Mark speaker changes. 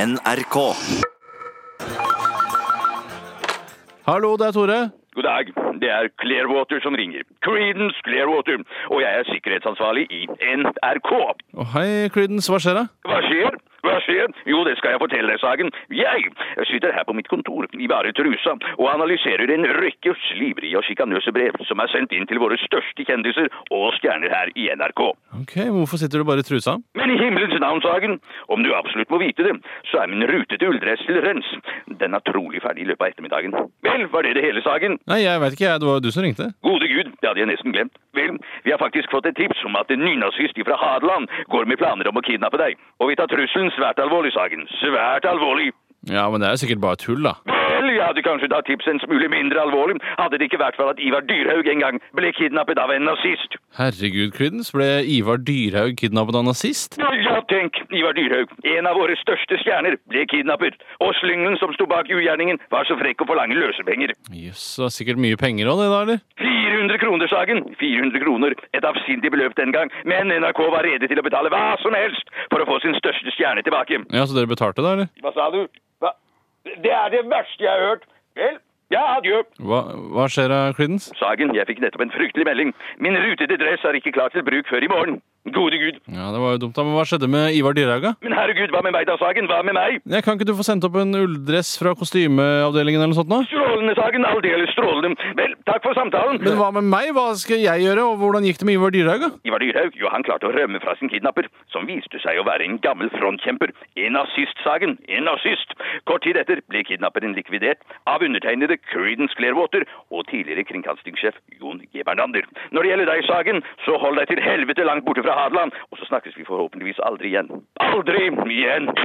Speaker 1: NRK.
Speaker 2: Hallo, det er Tore.
Speaker 3: God dag. Det er Clearwater som ringer. Creedence Clearwater. Og jeg er sikkerhetsansvarlig i NRK.
Speaker 2: Å, hei, Creedence. Hva skjer da?
Speaker 3: Hva skjer? Hva skjer? Jo, det skal jeg fortelle deg, Sagen. Jeg sitter her på mitt kontor i bare trusa og analyserer en rekke slivrige og sjikanøse brev som er sendt inn til våre største kjendiser og stjerner her i NRK.
Speaker 2: Ok, Hvorfor sitter du bare i trusa?
Speaker 3: Men i himmelens navn, Sagen, om du absolutt må vite det, så er min rutete ulldress til rens. Den er trolig ferdig i løpet av ettermiddagen. Vel, var det det hele, Sagen?
Speaker 2: Nei, jeg veit ikke. jeg. Det var jo du som ringte.
Speaker 3: Gode Gud, det hadde jeg nesten glemt. Vel, vi har faktisk fått et tips om at en nynazist fra Hadeland går med planer om å kidnappe deg. Og vi tar trusselen svært alvorlig, Sagen. Svært alvorlig.
Speaker 2: Ja, men det er jo sikkert bare tull, da.
Speaker 3: Vel, jeg hadde kanskje tatt tipset en smule mindre alvorlig, hadde det ikke vært for at Ivar Dyrhaug en gang ble kidnappet av en nazist.
Speaker 2: Herregud, Creedence. Ble Ivar Dyrhaug kidnappet av nazist?
Speaker 3: Ja, ja, tenk, Ivar Dyrhaug, en av våre største stjerner, ble kidnappet. Og slyngen som sto bak ugjerningen, var så frekk å forlange løsepenger.
Speaker 2: Jøss, det var sikkert mye penger òg, det da, eller?
Speaker 3: 400 kroner, Sagen. 400 kroner. Et avsindig beløp den gang. Men NRK var rede til å betale hva som helst for å få sin største stjerne tilbake.
Speaker 2: Ja, Så dere betalte, da, eller?
Speaker 3: Hva sa du? Hva? Det er det verste jeg har hørt. Vel, ja, adjø.
Speaker 2: Hva, hva skjer da, Creedence?
Speaker 3: Sagen, jeg fikk nettopp en fryktelig melding. Min rutete dress er ikke klar til bruk før i morgen. Gode gud.
Speaker 2: Ja, det var jo dumt, da. Men hva skjedde med Ivar Dyrhaug, da?
Speaker 3: Men herregud, hva med meg da, Sagen? Hva med meg?
Speaker 2: Ja, kan ikke du få sendt opp en ulldress fra kostymeavdelingen eller noe sånt nå?
Speaker 3: Strålende, Sagen. Aldeles strålende. Vel, takk for samtalen.
Speaker 2: Men hva med meg? Hva skal jeg gjøre, og hvordan gikk det med Ivar Dyrhaug, da?
Speaker 3: Ivar Dyrhaug, jo han klarte å rømme fra sin kidnapper, som viste seg å være en gammel frontkjemper. En nazist, Sagen. En nazist. Kort tid etter ble kidnapperen likvidert av undertegnede Creedence Clearwater og tidligere kringkastingssjef Jon G. Bernander. Når det gjelder deg, Sagen, så hold deg til helvete langt borte fra Hadeland, og så snakkes vi forhåpentligvis aldri igjen. Aldri igjen!